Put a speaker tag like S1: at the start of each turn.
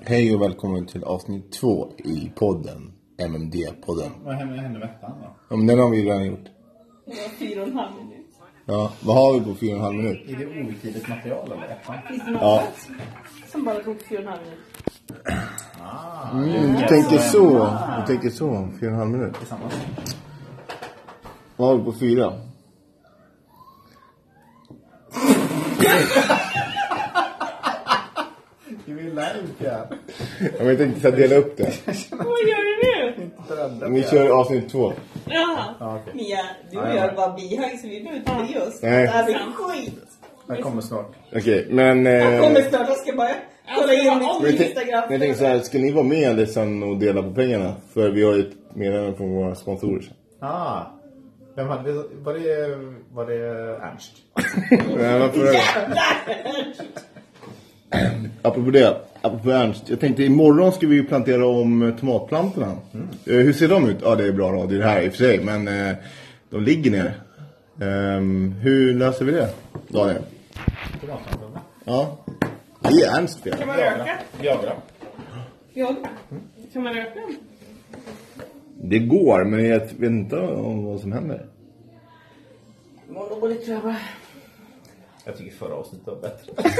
S1: Hej och välkommen till avsnitt två i podden. MMD-podden.
S2: Vad hände, hände med ettan då?
S1: Ja, men den har vi ju redan gjort.
S3: Det var fyra och en halv minut.
S1: Ja, vad har vi på fyra och en halv minut?
S2: Är det outgivet material eller ettan?
S3: Finns det något
S1: Ja.
S3: som bara tog fyra och en halv minut?
S1: Mm, du tänker så. Du tänker så. Fyra och en halv minut.
S2: Tillsammans?
S1: Vad har vi på fyra?
S2: Du är live Pierre!
S1: Ja, men Jag tänkte så här dela upp det.
S3: Vad gör du nu?
S1: Men Vi kör avsnitt två.
S3: Jaha.
S2: Ja, okej.
S3: Mia, du
S2: Ja,
S3: och
S2: ja.
S3: jag är bara bihang så vi behöver inte bry oss.
S1: Nej. Eh,
S3: Det här blir skit.
S2: Jag kommer snart.
S1: Okej, men...
S3: Jag
S1: Eh,
S3: kommer snart, jag ska bara kolla in
S1: men jag,
S3: mitt
S1: tänk,
S3: Instagram.
S1: men jag tänker så här, ska ni vara med Alexander och dela på pengarna? För vi har ju ett meddelande från våra sponsorer. sen.
S2: Ah. Vem hade vi? Var det, var det Ernst?
S1: Nej, men för- Apropå det, apropå Ernst. Jag tänkte imorgon ska vi ju plantera om eh, tomatplantorna. Eh, hur ser de ut? Ja, det är bra radio det här i och för sig, men eh, de ligger ner. Ehm, hur löser vi det, Daniel?
S2: Tomatplantorna?
S1: Ja, det är Ernst fel.
S3: Kan man röka?
S2: Viagra.
S3: Ja. Kan man röka?
S1: Det går, men jag vet inte om vad som händer.
S3: Mår dåligt tror jag bara.
S2: Jag tycker förra avsnittet var bättre.